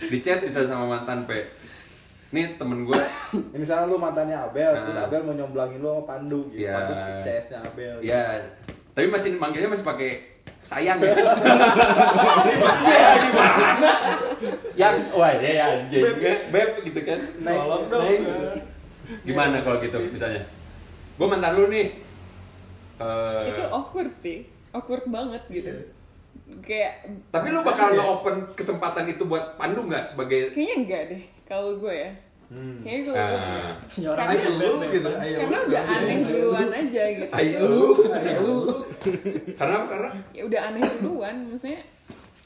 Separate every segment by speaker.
Speaker 1: di chat bisa sama mantan P nih temen gue
Speaker 2: Ya, misalnya lu mantannya Abel, terus
Speaker 1: Ah.
Speaker 2: Abel mau nyomblangin lu sama Pandu gitu.
Speaker 1: Iya.
Speaker 2: Pandu si CS-nya Abel. gitu.
Speaker 1: ya tapi masih manggilnya masih pakai sayang ya Ya, gimana yang wah dia ya anjing beb gitu kan
Speaker 2: Naik,
Speaker 3: Tolong dong.
Speaker 2: naik.
Speaker 1: gimana kalau gitu misalnya gue mantan lu nih Eh,
Speaker 4: itu awkward sih awkward banget gitu
Speaker 3: Iya.
Speaker 4: kayak
Speaker 1: tapi lu bakal nge-open kesempatan itu buat Pandu nggak sebagai
Speaker 4: kayaknya enggak deh kalau gue ya
Speaker 3: Hmm.
Speaker 4: kayaknya kalau gue
Speaker 1: Ah.
Speaker 2: Nyorak
Speaker 4: Karena-
Speaker 2: aja lu gitu. ayo
Speaker 4: karena
Speaker 2: lu.
Speaker 4: udah aneh
Speaker 2: iya.
Speaker 4: duluan aja gitu
Speaker 1: Ai lu, ai lu. Karena karena
Speaker 4: ya udah aneh duluan maksudnya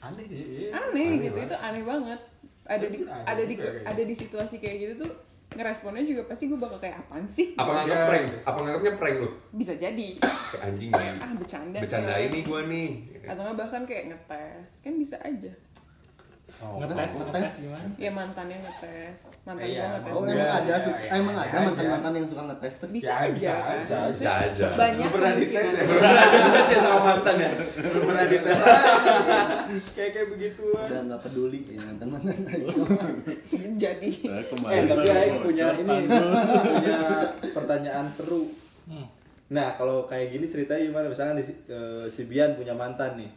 Speaker 3: Aneh sih.
Speaker 4: aneh, gitu itu aneh banget ada di
Speaker 3: Aneh
Speaker 4: ada di
Speaker 3: juga kayaknya.
Speaker 4: ada di situasi kayak gitu tuh ngeresponnya juga pasti gue bakal kayak apaan sih
Speaker 1: apa nganggap
Speaker 3: Iya.
Speaker 1: prank? Apa nganggapnya prank lu?
Speaker 4: bisa jadi
Speaker 1: Kayak anjing nih.
Speaker 4: ah bercanda
Speaker 1: Bercanda
Speaker 4: Ya.
Speaker 1: ini gua nih.
Speaker 4: atau nggak bahkan kayak ngetes kan bisa aja
Speaker 5: ngetes ngetes gimana
Speaker 4: ya mantannya ngetes mantan
Speaker 3: Iya,
Speaker 4: gua ngetes
Speaker 5: oh
Speaker 3: Enggak,
Speaker 5: emang ada
Speaker 3: ya,
Speaker 5: su-
Speaker 3: ya,
Speaker 5: emang
Speaker 3: ya
Speaker 5: ada
Speaker 3: aja.
Speaker 5: mantan-mantan yang suka ngetes tuh
Speaker 4: bisa
Speaker 3: Ya,
Speaker 4: aja kan
Speaker 3: bisa aja.
Speaker 1: Bisa aja.
Speaker 4: banyak
Speaker 3: Lu pernah dites ya?
Speaker 4: kemungkinan
Speaker 3: Lu pernah
Speaker 1: Dites ya sama mantan ya.
Speaker 3: Lu pernah dites Kayak kayak begituan.
Speaker 5: udah nggak peduli kayaknya mantan-mantan
Speaker 4: jadi
Speaker 6: Nah,
Speaker 2: Eh,
Speaker 6: kemarin
Speaker 2: tapi
Speaker 6: baru
Speaker 2: Aing
Speaker 6: bocor.
Speaker 2: punya ini punya pertanyaan seru.
Speaker 3: Hmm.
Speaker 2: Nah, kalau kayak gini ceritanya gimana? Misalnya di, eh, si Bian punya mantan nih.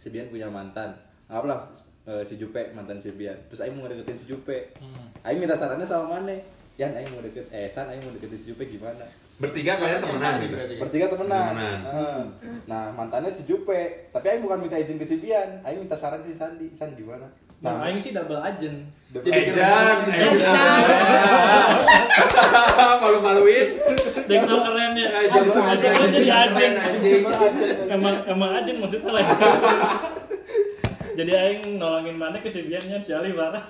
Speaker 2: Si Bian punya mantan. Apalah eh, si Jupe mantan si Bian. Terus Aing mau deketin si Jupe. Aing minta sarannya sama Mane. Yan Aing mau deket, eh San Aing mau deketin si Jupe gimana?
Speaker 1: Bertiga kalian temenan gitu.
Speaker 2: Bertiga temenan.
Speaker 1: Temenan.
Speaker 2: Heeh. Nah, mantannya si Jupe. Tapi Aing bukan minta izin ke si Bian. Aing minta saran ke si Sandi. San gimana?
Speaker 7: Nah, aing sih double agent.
Speaker 1: Eh, Ejan, Ejan.
Speaker 4: Nah,
Speaker 1: Malu-maluin.
Speaker 7: Dan kenal keren ya.
Speaker 1: Agent sama
Speaker 7: Agent kan jadi
Speaker 1: agent.
Speaker 7: agent. Emang emang agent maksudnya lah. Jadi aing nolongin mana kesibiannya si Ali marah.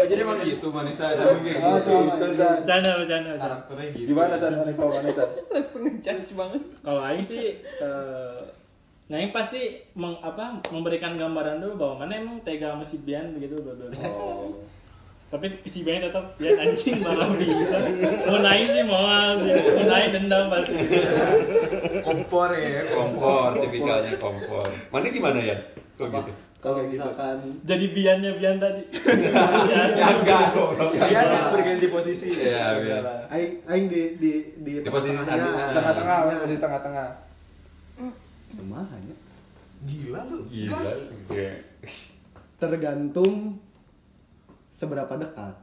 Speaker 3: Oh, jadi emang gitu Manisa ada mungkin.
Speaker 2: Ah,
Speaker 5: Oh, sama
Speaker 2: Itu,
Speaker 5: ini.
Speaker 2: San.
Speaker 7: Bercanda bercanda. bercanda.
Speaker 3: Karakternya gitu.
Speaker 2: Gimana San Mane kalau Mane San?
Speaker 4: langsung ngejudge banget
Speaker 7: Kalau aing sih eh, Nah, Aing pasti meng, apa, memberikan gambaran dulu bahwa mana emang tega sama si Bian begitu bla bla bla.
Speaker 2: Oh.
Speaker 7: Tapi si Bian tetap ya anjing marah bisa. Mau naik sih mau sih. Mau naik dendam pasti.
Speaker 3: Kompor
Speaker 2: Iya,
Speaker 3: ya, kompor.
Speaker 1: Kompor, tipikalnya kompor. Mana gimana ya? Kok
Speaker 5: Apa?
Speaker 1: gitu?
Speaker 5: kalau
Speaker 2: Kayak gitu.
Speaker 5: misalkan
Speaker 7: Jadi Biannya Bian tadi.
Speaker 1: Ya enggak dong.
Speaker 3: Biar yang berganti posisi.
Speaker 1: Iya, biar.
Speaker 5: aing aing di di di,
Speaker 1: Di posisi sana.
Speaker 2: Tengah-tengah, Mane posisi tengah-tengah.
Speaker 5: rumahnya
Speaker 3: Gila tuh.
Speaker 1: Gila.
Speaker 3: Gas.
Speaker 1: Iya.
Speaker 5: tergantung seberapa dekat.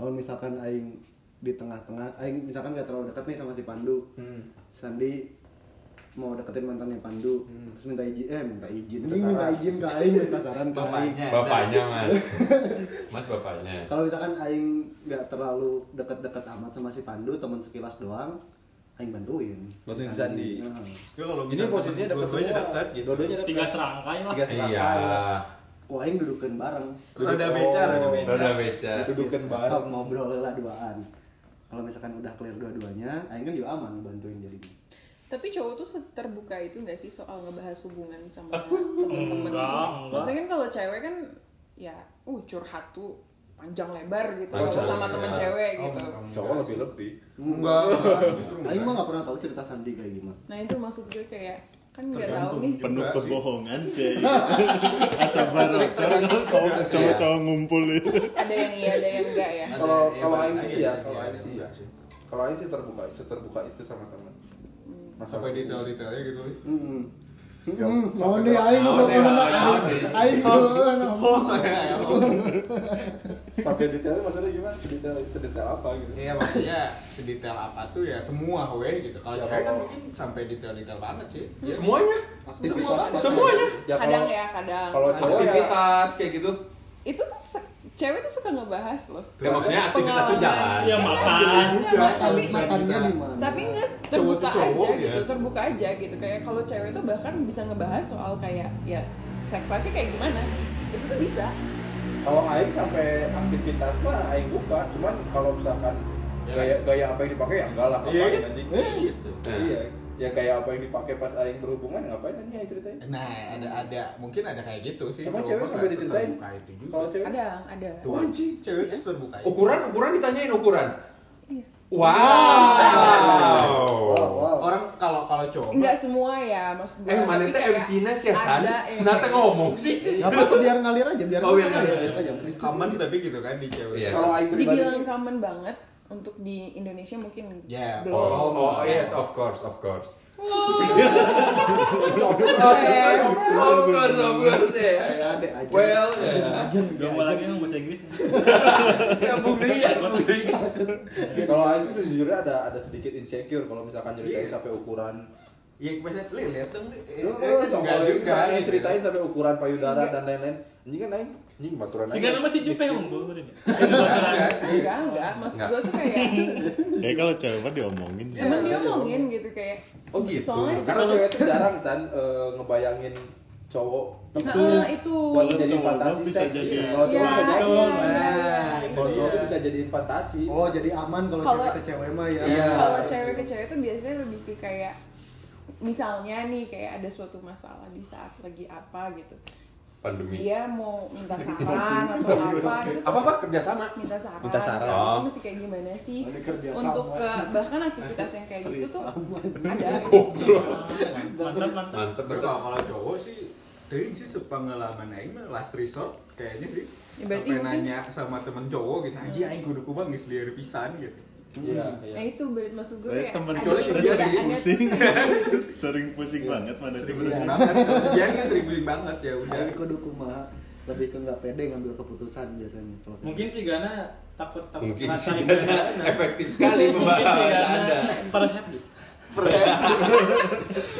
Speaker 5: Kalau misalkan aing di tengah-tengah, aing misalkan gak terlalu dekat nih sama si Pandu.
Speaker 2: Hmm.
Speaker 5: Sandi mau deketin mantannya Pandu,
Speaker 2: Hmm.
Speaker 5: terus minta izin, eh minta izin,
Speaker 2: Minta
Speaker 5: Ini minta
Speaker 2: saran.
Speaker 5: izin ke aing, minta saran ke aing.
Speaker 3: Bapaknya.
Speaker 1: Bapaknya, Mas. Mas bapaknya.
Speaker 5: Kalau misalkan aing gak terlalu deket-deket amat sama si Pandu, teman sekilas doang, aing bantuin.
Speaker 2: Bantuin si Sandi.
Speaker 5: Nah,
Speaker 3: Ya, kalau
Speaker 2: Ini posisinya dapat
Speaker 3: dua
Speaker 2: semua.
Speaker 3: dekat gitu.
Speaker 2: Dua-duanya dekat.
Speaker 7: Tiga serangkai lah.
Speaker 2: Tiga
Speaker 1: Iya.
Speaker 2: serangkai.
Speaker 5: ku aing dudukin bareng.
Speaker 3: Roda beca, roda
Speaker 2: Oh.
Speaker 3: beca.
Speaker 1: Roda beca.
Speaker 2: Dudukin bareng.
Speaker 5: Sok ngobrol lah duaan. Kalau misalkan udah clear dua-duanya, aing kan juga aman bantuin jadinya.
Speaker 4: tapi cowok tuh terbuka itu nggak sih soal ngebahas hubungan sama temen-temen
Speaker 7: Enggak, enggak.
Speaker 4: maksudnya kan kalau cewek kan ya uh curhat tuh panjang lebar gitu
Speaker 1: Panjang,
Speaker 4: kalau sama temen
Speaker 1: iya.
Speaker 4: cewek
Speaker 3: Oh,
Speaker 4: gitu
Speaker 3: enggak, enggak.
Speaker 2: Cowok lebih-lebih.
Speaker 3: Enggak. enggak, justru enggak.
Speaker 5: Aing mah gak pernah tahu cerita Sandi kayak gimana.
Speaker 4: nah itu maksud gue kayak kan nggak tahu
Speaker 3: Tergantung.
Speaker 4: nih
Speaker 6: penuh
Speaker 3: Juga sih.
Speaker 6: kebohongan sih asal barocor kalau cowok- cowok-cowok ngumpul itu
Speaker 4: ada yang iya ada yang enggak ya
Speaker 2: Kalau
Speaker 3: Ada-
Speaker 2: kalau
Speaker 3: iya,
Speaker 2: Aing
Speaker 3: ada-
Speaker 2: sih
Speaker 3: iya,
Speaker 2: ya,
Speaker 3: ada-
Speaker 2: kalau
Speaker 3: iya,
Speaker 2: Aing
Speaker 3: ada-
Speaker 2: sih
Speaker 3: iya.
Speaker 2: ya. Kalau Aing sih terbuka, seterbuka itu sama teman.
Speaker 4: Hmm.
Speaker 3: sampai detail-detailnya gitu. Li.
Speaker 5: Heeh. Mau deh aing mau kena. Aing mau
Speaker 2: Sampai detailnya maksudnya gimana? Sedetail sedetail apa gitu?
Speaker 3: Iya maksudnya sedetail apa tuh ya semua we gitu. Kalau
Speaker 2: Ya,
Speaker 3: cewek kan
Speaker 2: kalau-
Speaker 3: mungkin sampai detail-detail banget sih.
Speaker 1: Ya,
Speaker 3: Iya.
Speaker 1: Semuanya.
Speaker 5: Aktivitas
Speaker 1: Semua-
Speaker 5: pacaran.
Speaker 1: Semuanya.
Speaker 2: Ya,
Speaker 4: kadang
Speaker 2: kalau-
Speaker 4: ya kadang
Speaker 2: kalau cowok ya
Speaker 1: Aktivitas kayak gitu.
Speaker 4: itu tuh se- cewek tuh suka ngebahas loh
Speaker 1: Ya maksudnya aktivitas tuh
Speaker 4: Pengalaman. Iya,
Speaker 1: jalan. Nah.
Speaker 7: Ya
Speaker 3: Iya,
Speaker 7: makan.
Speaker 5: makan makannya di mana?
Speaker 4: tapi nggak
Speaker 1: Cowok
Speaker 4: terbuka
Speaker 1: tuh cowok,
Speaker 4: aja gitu
Speaker 1: ya.
Speaker 4: terbuka aja gitu kayak kalau cewek itu bahkan bisa ngebahas soal kayak ya seks life kayak gimana itu tuh bisa
Speaker 2: kalau Aing sampai aktivitas mah Aing buka, cuman kalau misalkan
Speaker 3: Ya.
Speaker 2: gaya gaya apa yang dipakai ya enggak lah
Speaker 3: Iya
Speaker 2: ngapain
Speaker 3: kan?
Speaker 2: anjing.
Speaker 4: Eh.
Speaker 3: gitu.
Speaker 1: Nah.
Speaker 2: Iya. Ya gaya apa yang dipakai pas Aing berhubungan ya ngapain anjing Aing ceritain?
Speaker 3: Nah, ada ada mungkin ada kayak gitu sih.
Speaker 2: Emang
Speaker 3: Cowok
Speaker 2: cewek
Speaker 3: mah
Speaker 2: sampai
Speaker 3: nggak
Speaker 2: diceritain?
Speaker 3: seterbuka itu juga.
Speaker 2: Kalau cewek
Speaker 4: ada ada
Speaker 3: Tuh, Oh, anjing, cewek itu terbuka. itu.
Speaker 1: Ukuran ukuran ditanyain ukuran.
Speaker 4: Iya.
Speaker 1: Wow.
Speaker 5: Wow.
Speaker 3: Orang kalau kalau
Speaker 1: kalau cowok.
Speaker 4: Enggak semua ya maksud gue.
Speaker 1: Eh, mana
Speaker 4: Tapi
Speaker 1: teh
Speaker 4: kayak
Speaker 1: MC nya sih San.
Speaker 4: ada yang
Speaker 1: Nata
Speaker 4: kayak-
Speaker 1: ngomong sih.
Speaker 5: Gak apa-apa biar ngalir aja, biar
Speaker 3: Oh, biar
Speaker 5: ngalir
Speaker 3: ngalir.
Speaker 5: aja, jangan diskusi.
Speaker 3: Common tapi gitu kan di cewek.
Speaker 1: Iya.
Speaker 2: Kalau aing pribadi sih
Speaker 4: Dibilang common banget untuk di Indonesia mungkin
Speaker 3: Ya,
Speaker 4: belum.
Speaker 1: Oh, oh, yes, of course, of course. Of course, of course, ya.
Speaker 5: Ada ada aja.
Speaker 1: Well,
Speaker 5: Ada
Speaker 1: ya.
Speaker 5: aja, ada
Speaker 7: Gak mau
Speaker 5: aja.
Speaker 7: lagi ngomong bahasa Inggris. Iya.
Speaker 1: Ya, Bung Rian, Bung Rian.
Speaker 2: kalau aing sih sejujurnya ada ada sedikit insecure kalau misalkan ceritain
Speaker 3: Iya.
Speaker 2: sampai ukuran
Speaker 3: Ya biasanya li lihat dong. li-
Speaker 1: Iya,
Speaker 3: eh,
Speaker 2: Oh,
Speaker 3: eh,
Speaker 2: sama
Speaker 3: enggak
Speaker 2: juga yang
Speaker 3: gitu.
Speaker 2: ceritain sampai ukuran payudara
Speaker 4: Enggak.
Speaker 2: dan lain-lain. Anjing kan aing anjing baturan aja.
Speaker 7: Sekarang masih jupe unggul
Speaker 1: Iya,
Speaker 7: ini.
Speaker 4: Enggak, enggak. Maksud
Speaker 1: Enggak.
Speaker 4: gue tuh kayak
Speaker 6: Ya kalau cewek mah diomongin sih.
Speaker 4: emang
Speaker 1: Ya,
Speaker 4: dia ngomongin gitu kayak
Speaker 1: Oh, gitu.
Speaker 4: Soalnya
Speaker 2: Karena cewek itu jarang san eh, ngebayangin cowok
Speaker 4: Nah,
Speaker 6: Itu.
Speaker 4: eh, itu
Speaker 2: buat
Speaker 6: Kalau
Speaker 2: jadi
Speaker 6: cowok
Speaker 2: fantasi
Speaker 6: bisa
Speaker 2: seks.
Speaker 6: jadi-
Speaker 2: Iya, Kalau cowok
Speaker 4: Iya,
Speaker 2: bisa jadi.
Speaker 4: iya,
Speaker 2: Nah,
Speaker 4: iya.
Speaker 2: kalau cowok tuh bisa jadiin fantasi.
Speaker 5: Oh, jadi aman kalau
Speaker 4: Kalau-
Speaker 5: cewek ke cewek mah ya.
Speaker 2: Iya.
Speaker 4: kalau cewek ke cewek tuh biasanya lebih ke kayak misalnya nih kayak ada suatu masalah di saat lagi apa gitu
Speaker 1: Pandemi.
Speaker 4: dia mau minta saran atau apa itu tuh
Speaker 1: Apa apa kerjasama?
Speaker 4: minta saran,
Speaker 2: Minta saran.
Speaker 4: Itu
Speaker 1: Oh.
Speaker 4: mesti kayak gimana sih
Speaker 5: Ada kerja
Speaker 4: untuk
Speaker 5: sama.
Speaker 4: ke bahkan aktivitas yang kayak gitu tuh
Speaker 5: Sama.
Speaker 4: ada
Speaker 7: Mantap mantap.
Speaker 1: Mantep
Speaker 3: Tapi
Speaker 1: betul.
Speaker 3: kalau kalau cowok sih Teuing sih sepengalaman aing mah last resort kayaknya sih.
Speaker 4: Ya, berarti
Speaker 3: Sampai
Speaker 4: mungkin-
Speaker 3: nanya sama temen cowok gitu, anjing aing kudu kubang geus liar pisan gitu.
Speaker 2: Iya, iya.
Speaker 4: nah itu berit maksud gue
Speaker 6: Eh,
Speaker 4: kayak
Speaker 6: temen
Speaker 4: ada
Speaker 6: cowok
Speaker 3: juga
Speaker 4: perbedaannya tuh
Speaker 3: sering
Speaker 6: pusing.
Speaker 4: kayak gitu.
Speaker 6: Sering pusing banget mana
Speaker 3: Sering
Speaker 6: tuh.
Speaker 3: beling banget, sekian kan sering beling banget ya udah.
Speaker 5: Aku kudu kumaha lebih ke nggak pede ngambil keputusan biasanya kalau kayak gitu.
Speaker 7: Mungkin sih Gana takut takut
Speaker 3: gitu,
Speaker 1: Mungkin
Speaker 7: ngerasa
Speaker 1: sih
Speaker 7: itu.
Speaker 1: karena efektif sekali
Speaker 7: Mungkin sih
Speaker 1: pembahasan
Speaker 7: Gana
Speaker 1: Anda.
Speaker 7: perhaps.
Speaker 3: Perhaps,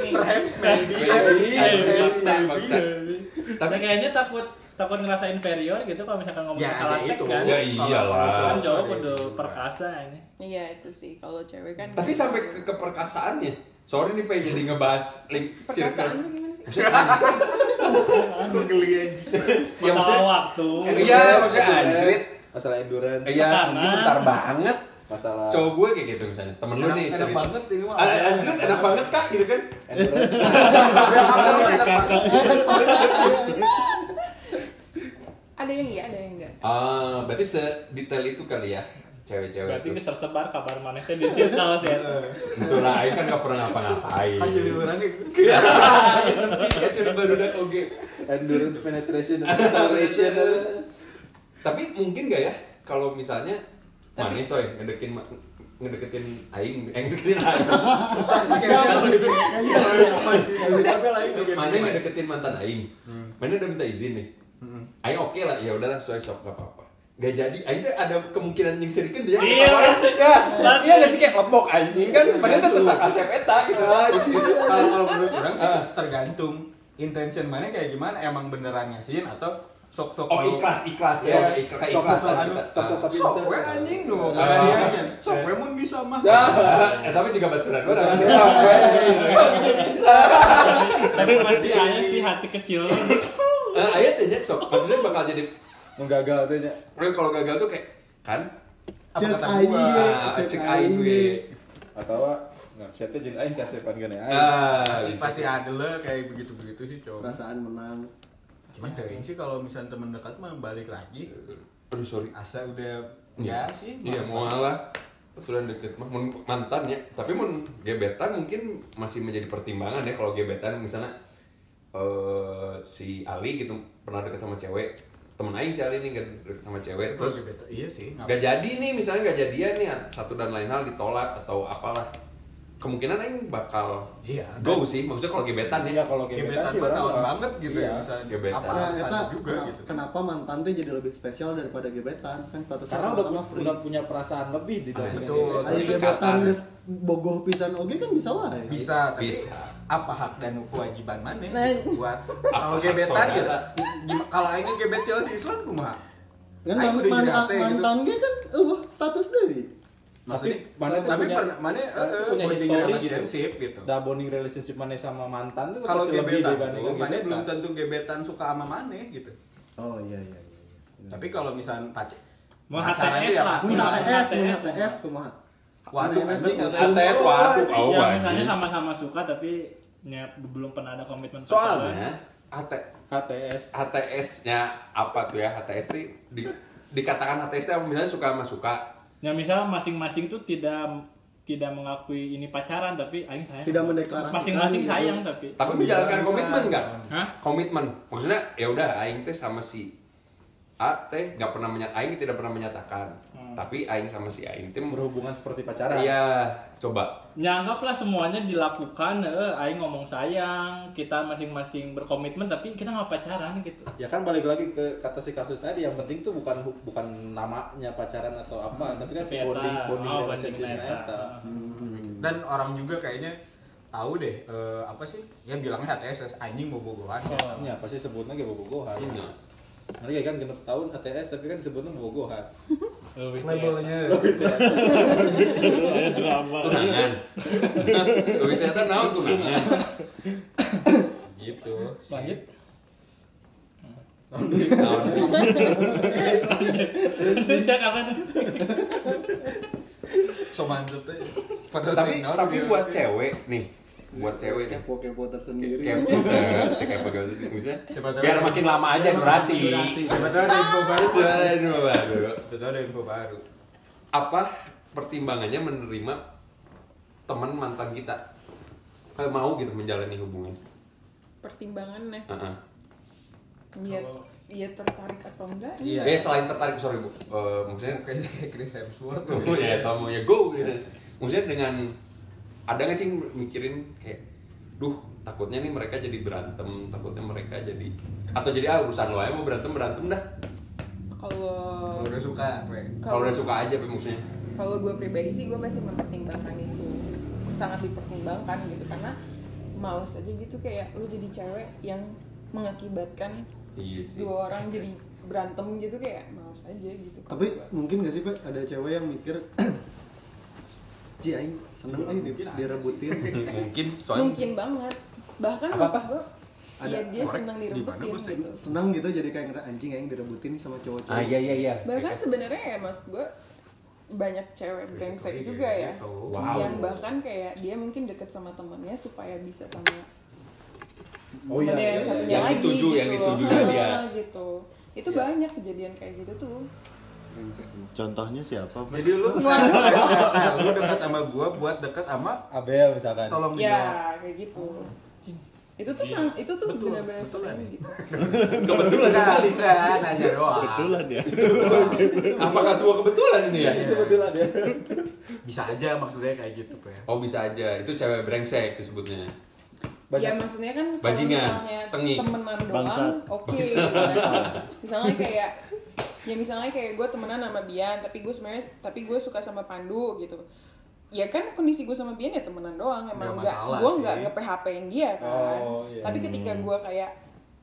Speaker 3: perhaps maybe,
Speaker 1: Maybe,
Speaker 3: perhaps
Speaker 1: iya, maksa, maksa.
Speaker 7: Iya, Tapi
Speaker 1: Tapi-
Speaker 7: kayaknya takut takut ngerasa inferior gitu kalau misalkan ngomong
Speaker 3: Ya,
Speaker 7: masalah
Speaker 3: ada
Speaker 7: seks
Speaker 3: itu.
Speaker 7: kan.
Speaker 1: Ya iyalah.
Speaker 7: Kan
Speaker 3: Kalau
Speaker 7: cowok
Speaker 3: ada
Speaker 7: kudu
Speaker 3: itu.
Speaker 7: perkasa ini.
Speaker 4: iya itu sih kalau cewek kan
Speaker 1: Tapi sampai ke keperkasaannya. Sorry nih pengen jadi ngebahas link
Speaker 4: perkasaan
Speaker 1: circle.
Speaker 4: tuh gimana sih
Speaker 3: Aku geli anjing.
Speaker 1: Ya,
Speaker 7: Masalah
Speaker 1: maksudnya-
Speaker 7: waktu.
Speaker 1: Eh, Iya, maksudnya
Speaker 2: Endurance,
Speaker 1: anjrit.
Speaker 2: Masalah endurance,
Speaker 1: Iya,
Speaker 7: Tekanan.
Speaker 1: anjing bentar banget.
Speaker 2: masalah
Speaker 1: Cowok gue kayak gitu misalnya. Temen lu
Speaker 3: Enak-
Speaker 1: nih
Speaker 3: enak
Speaker 1: cerita.
Speaker 3: banget ini mah.
Speaker 1: Ah, Anjrit enak banget kak gitu kan.
Speaker 2: endurance.
Speaker 4: ada yang iya ada yang enggak
Speaker 1: Ah, berarti sedetail itu kali ya cewek-cewek
Speaker 7: Berarti
Speaker 1: itu.
Speaker 7: geus tersebar kabar manisnya di circle sih.
Speaker 1: Betul lah, Aing kan gak pernah ngapa-ngapain.
Speaker 3: Kan jadi orang yang
Speaker 1: Kacau baru udah oke.
Speaker 2: endurance penetration acceleration
Speaker 1: Tapi mungkin gak ya kalau misalnya Manis soy ngedekin ma- ngedeketin aing, eh ngedeketin aing.
Speaker 3: masih susah tapi lain bikin
Speaker 1: Mana yang ngedeketin mantan aing? Mana udah minta izin nih? Aing oke lah, ya udahlah soy sok gak apa-apa. Gak jadi, aing tuh ada kemungkinan nyingsirikeun dia.
Speaker 7: Iya.
Speaker 1: Ya, iya gak sih kayak lebok anjing kan padahal tuh tesak asep eta gitu. Ah.
Speaker 3: kalau kalau menurut orang sih tergantung intention mana kayak gimana emang beneran ngasih atau sok-sok
Speaker 1: Oh,
Speaker 3: lu-
Speaker 1: ikhlas, ikhlas
Speaker 3: Iya. anu,
Speaker 1: ya, ikhlas, keikhlasan.
Speaker 3: Sok-sokan,
Speaker 1: kita.
Speaker 2: sok-sok tapi
Speaker 3: sok
Speaker 2: bener.
Speaker 3: we anjing lu
Speaker 1: Ah.
Speaker 3: beraniannya. sok we mun bisa mah
Speaker 1: Eh, tapi juga baturan orang.
Speaker 2: Iya.
Speaker 1: Iya.
Speaker 7: Tapi pasti ada sih hati kecil.
Speaker 1: Eh, ayat aja sok. Maksudnya bakal jadi
Speaker 2: menggagal tuh nya
Speaker 1: Well, kalau gagal tuh kayak kan
Speaker 3: apa
Speaker 5: Cek
Speaker 3: kata
Speaker 5: aing
Speaker 3: gua
Speaker 5: dia,
Speaker 1: ah, cek aing
Speaker 5: dia.
Speaker 1: gue.
Speaker 2: atau nggak siapa jeung aing kan kasepan gane aing
Speaker 1: Ah,
Speaker 3: Pasti-
Speaker 1: bisa.
Speaker 3: pasti ada lah kayak begitu-begitu sih cowok
Speaker 5: Perasaan menang.
Speaker 3: cuman dari sih kalau misalnya temen dekat mah balik lagi
Speaker 1: Aduh sorry.
Speaker 3: asa udah
Speaker 1: Iya.
Speaker 3: ya sih
Speaker 1: Iya mau lah. Betulan deket mah mun mantan ya. Tapi mun gebetan mungkin masih menjadi pertimbangan ya kalau gebetan misalnya eh si Ali gitu pernah deket sama cewek. Temen aing si Ali nih kan deket sama cewek
Speaker 3: terus
Speaker 1: terus
Speaker 3: iya sih
Speaker 1: nggak jadi nih misalnya nggak jadian nih satu dan lain hal ditolak atau apalah kemungkinan aing bakal
Speaker 3: Iya.
Speaker 1: go sih maksudnya kalau gebetan ya
Speaker 2: ya kalau gebetan
Speaker 3: gebetan
Speaker 2: sih
Speaker 3: mah
Speaker 2: orang
Speaker 3: naon
Speaker 2: bakal-
Speaker 3: banget gitu
Speaker 2: Iya.
Speaker 3: ya misalnya
Speaker 1: Gebetan.
Speaker 3: apa
Speaker 5: Nah,
Speaker 3: alasannya
Speaker 5: eta
Speaker 3: juga
Speaker 5: kena-
Speaker 3: gitu
Speaker 5: kenapa mantan teh jadi lebih spesial daripada gebetan? Kan statusnya
Speaker 2: karena udah,
Speaker 5: sama-sama free.
Speaker 2: udah punya perasaan lebih di dalam
Speaker 3: Ah, Betul.
Speaker 2: gebetan.
Speaker 5: Ayo
Speaker 1: Ikatan.
Speaker 5: gebetan geus bogoh pisan oge kan bisa wae.
Speaker 3: bisa tapi
Speaker 1: Bisa.
Speaker 3: apa hak dan kewajiban mana
Speaker 4: Nah.
Speaker 3: gitu buat kalau
Speaker 1: hak
Speaker 3: gebetan
Speaker 1: saudara?
Speaker 3: gitu gim- kalau aing gebet Chelsea Islan kumaha
Speaker 5: Kan
Speaker 3: Aing
Speaker 5: man-
Speaker 3: kudu jadi
Speaker 5: mantan
Speaker 3: ate gitu.
Speaker 5: mantan ge kan eueuh status deui.
Speaker 3: maksudnya
Speaker 2: Tapi mana tuh
Speaker 3: tapi
Speaker 2: punya-
Speaker 3: pernah mana eh,
Speaker 2: mana tuh
Speaker 3: eh,
Speaker 2: punya
Speaker 3: bonding
Speaker 2: history
Speaker 3: relationship gitu
Speaker 2: Dah bonding relationship mana sama mantan tuh
Speaker 3: kalau
Speaker 2: pasti lebih
Speaker 3: gebetan
Speaker 2: dibanding
Speaker 3: tuh, mana
Speaker 2: gebetan.
Speaker 3: belum tentu gebetan suka sama mana gitu
Speaker 5: Oh iya iya iya. iya.
Speaker 3: tapi kalau misalnya pacar
Speaker 7: Mau
Speaker 3: pacaran
Speaker 7: HTS
Speaker 3: dia
Speaker 7: lah. Ya,
Speaker 3: pasti-
Speaker 5: Mun HTS, mun
Speaker 7: HTS.
Speaker 5: HTS kumaha?
Speaker 3: Waduh,
Speaker 5: Mana enak kan
Speaker 3: anjing,
Speaker 5: atuh.
Speaker 3: HTS.
Speaker 1: ATS waktu kau
Speaker 7: ya misalnya sama-sama suka tapi ya, belum pernah ada komitmen pacaran.
Speaker 1: soalnya AT-
Speaker 2: HTS
Speaker 1: HTS-nya apa tuh ya HTS tuh di, dikatakan HTS itu misalnya suka sama suka
Speaker 7: Ya misal masing-masing tuh tidak tidak mengakui ini pacaran tapi aing sayang.
Speaker 5: Tidak mendeklarasikan
Speaker 7: Masing-masing
Speaker 5: gitu.
Speaker 7: sayang tapi.
Speaker 1: Tapi menjalankan komitmen nggak?
Speaker 7: Hah?
Speaker 1: Komitmen. Maksudnya ya udah aing teh sama si A teh nggak pernah menyatakan, aing tidak pernah menyatakan. Tapi aing sama si aing teh
Speaker 2: berhubungan seperti pacaran
Speaker 1: Iya, coba.
Speaker 7: Nyanggaplah semuanya dilakukan, eh, aing ngomong sayang, kita masing-masing berkomitmen tapi kita nggak pacaran gitu.
Speaker 2: ya kan balik lagi ke kata si kasus tadi yang penting tuh bukan bukan namanya pacaran atau apa tapi kan si
Speaker 7: Hmm, Tapi
Speaker 2: bonding
Speaker 7: eta,
Speaker 2: bonding
Speaker 7: oh,
Speaker 2: dan
Speaker 7: bonding
Speaker 2: seksinya
Speaker 7: eta.
Speaker 2: eta.
Speaker 3: dan orang juga kayaknya tahu deh eh, apa sih ya bilangnya HTSS anjing bobogohan
Speaker 7: Oh.
Speaker 2: ya pasti sebutnya kayak bobogohan
Speaker 3: Iya.
Speaker 2: Mereka kan genep tahun ATS tapi kan sebutnya bobogohan
Speaker 7: Lebih Oh, gitu ya.
Speaker 6: Eh, drama.
Speaker 1: Tunangan. Tapi ternyata naon tunangan.
Speaker 3: gitu
Speaker 7: Lanjut.
Speaker 1: Naon.
Speaker 7: Terus ya kapan?
Speaker 3: so mantep aja. Padahal
Speaker 1: Tapi
Speaker 3: tinggal
Speaker 1: tapi
Speaker 3: dia-
Speaker 1: buat cewek nih, buat cewek nih.
Speaker 5: kepo-kepo tersendiri.
Speaker 1: Kepo, eh, kepo, kepo, maksudnya
Speaker 3: Siapa tahu-
Speaker 1: biar makin lama aja durasi.
Speaker 3: sebetulnya ada info baru
Speaker 1: Coba ini baru.
Speaker 3: sebetulnya ada info baru
Speaker 1: apa pertimbangannya menerima teman mantan kita Eh, mau gitu menjalani hubungan
Speaker 4: pertimbangannya
Speaker 1: Heeh.
Speaker 4: dia dia tertarik atau enggak nih
Speaker 1: eh selain tertarik sorry bu Eh, maksudnya
Speaker 3: Iya. kayaknya kayak Chris Hemsworth
Speaker 1: tuh ya tamu ya go gitu. maksudnya dengan ada nggak sih mikirin kayak duh takutnya nih mereka jadi berantem takutnya mereka jadi atau jadi ah urusan lo aja mau berantem berantem dah
Speaker 4: kalau
Speaker 3: Kalau udah suka gue
Speaker 1: kalau udah suka aja maksudnya
Speaker 4: kalau gue pribadi sih gue masih mempertimbangkan itu sangat dipertimbangkan gitu karena males aja gitu kayak lu jadi cewek yang mengakibatkan
Speaker 1: iya sih
Speaker 4: dua orang jadi berantem gitu kayak males aja gitu
Speaker 5: Tapi mungkin gak sih Pak ada cewek yang mikir Ji aing seneng aing di- direbutin.
Speaker 1: mungkin soalnya
Speaker 4: mungkin banget bahkan
Speaker 1: Apa-apa?
Speaker 4: maksud gue
Speaker 5: Ada
Speaker 4: Iya dia senang
Speaker 3: Gimana,
Speaker 4: direbutin
Speaker 3: Bos?
Speaker 4: gitu
Speaker 5: Seneng gitu jadi kayak ngerasa anjing aing direbutin sama cowok-cowok.
Speaker 1: ah iya iya iya
Speaker 4: bahkan sebenarnya ya maksud gue banyak cewek brengsek
Speaker 3: kayak
Speaker 4: juga ya
Speaker 3: gitu.
Speaker 1: iya, Wow.
Speaker 4: yang bahkan kayak dia mungkin deket sama temennya supaya bisa sama
Speaker 2: oh
Speaker 4: Temennya yang satunya
Speaker 1: iya, Yang
Speaker 4: lagi
Speaker 1: dituju,
Speaker 4: gitu
Speaker 1: yang
Speaker 4: loh.
Speaker 1: ditujunya dia. Iya.
Speaker 4: Ah, gitu itu banyak kejadian kayak gitu tuh
Speaker 6: Nah, Contohnya siapa? Pak?
Speaker 3: jadi lu Nah, lu dekat sama gue buat dekat sama
Speaker 2: Abel misalkan
Speaker 3: tolong
Speaker 4: ya
Speaker 1: Iya.
Speaker 3: dia
Speaker 4: kayak gitu itu tuh sang- itu tuh benar-benar sering gitu
Speaker 1: kebetulan sekali
Speaker 3: Nah, nanya doang
Speaker 6: Kebetulan ya.
Speaker 1: apakah semua kebetulan ini
Speaker 4: Iya,
Speaker 1: ya
Speaker 2: itu betul ada
Speaker 3: Iya. bisa aja maksudnya kayak gitu Pe.
Speaker 1: Oh bisa aja, itu cewek brengsek disebutnya.
Speaker 4: ya
Speaker 2: banyak
Speaker 4: maksudnya kan kalau
Speaker 1: Bajingan,
Speaker 4: misalnya
Speaker 1: tengik,
Speaker 4: temenan
Speaker 6: bangsat.
Speaker 4: doang oke misalnya, misalnya kayak ya misalnya kayak gue temenan sama Bian tapi gue sebenarnya tapi gue suka sama Pandu gitu ya kan kondisi gue sama Bian ya temenan doang emang
Speaker 3: Nggak
Speaker 4: nggak
Speaker 3: masalah
Speaker 4: gue
Speaker 3: sih.
Speaker 4: nggak nge PHP in dia kan
Speaker 2: Oh, iya.
Speaker 4: tapi ketika gue kayak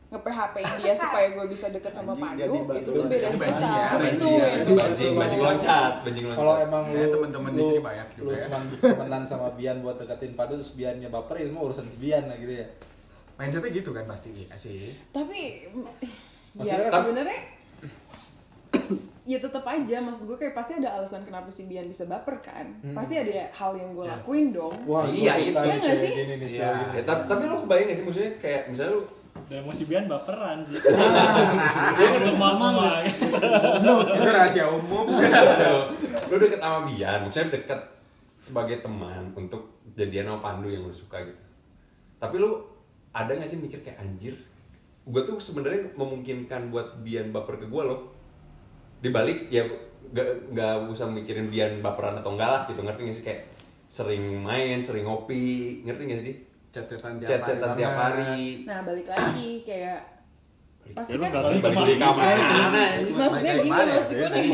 Speaker 4: nge PHP in dia supaya gue bisa deket sama
Speaker 5: Anjing,
Speaker 4: Pandu
Speaker 5: jadi batu
Speaker 4: itu tuh beda
Speaker 5: loncatan.
Speaker 4: cerita
Speaker 3: Bajingan,
Speaker 4: itu
Speaker 3: bajingan.
Speaker 4: yang
Speaker 1: Itu
Speaker 4: gue
Speaker 1: bajing,
Speaker 4: mau.
Speaker 1: bajing loncat, bajing loncat.
Speaker 2: kalau emang
Speaker 3: Ya,
Speaker 2: lu
Speaker 3: teman-teman di
Speaker 2: lu-
Speaker 3: sini banyak juga
Speaker 2: lu
Speaker 3: ya.
Speaker 2: cuman temenan sama Bian buat deketin Padu terus Biannya baper itu mah urusan Bian lah gitu ya
Speaker 3: mindsetnya gitu kan pasti iya sih
Speaker 4: tapi ya
Speaker 2: Maksudnya kan-
Speaker 4: sebenarnya ya tetap aja maksud gue kayak pasti ada alasan kenapa si Bian bisa baper kan pasti ada hal yang gue lakuin dong
Speaker 2: wah gua
Speaker 1: Iya, iya
Speaker 2: suka nih
Speaker 4: nggak
Speaker 2: cewek
Speaker 4: sih?
Speaker 2: gini nih, cewek
Speaker 1: Ya,
Speaker 2: gini.
Speaker 1: tapi, tapi lu kebayang gak sih maksudnya kayak misalnya lu
Speaker 7: Dan mau si Bian baperan sih. Untuk mama.
Speaker 3: itu rahasia umum
Speaker 1: lu deket sama Bian, maksudnya deket sebagai teman untuk jadian sama Pandu yang lu suka gitu. Tapi lu ada gak sih mikir kayak anjir? Gue tuh sebenarnya memungkinkan buat Bian baper ke gue loh. Dibalik ya gak, nggak usah mikirin Bian baperan atau enggak lah gitu ngerti gak sih kayak sering main, sering ngopi, ngerti gak sih?
Speaker 3: chat-chatan tiap hari
Speaker 1: Chat-chatan tiap
Speaker 3: banget.
Speaker 1: hari.
Speaker 4: nah balik lagi kayak pasti kan
Speaker 6: Lu nggak
Speaker 4: kalau-
Speaker 1: Balik balik ke
Speaker 3: nah,
Speaker 1: kamar.
Speaker 4: maksudnya
Speaker 3: Balik
Speaker 4: gini
Speaker 3: kemana ya,
Speaker 4: maksud gue
Speaker 3: Bian?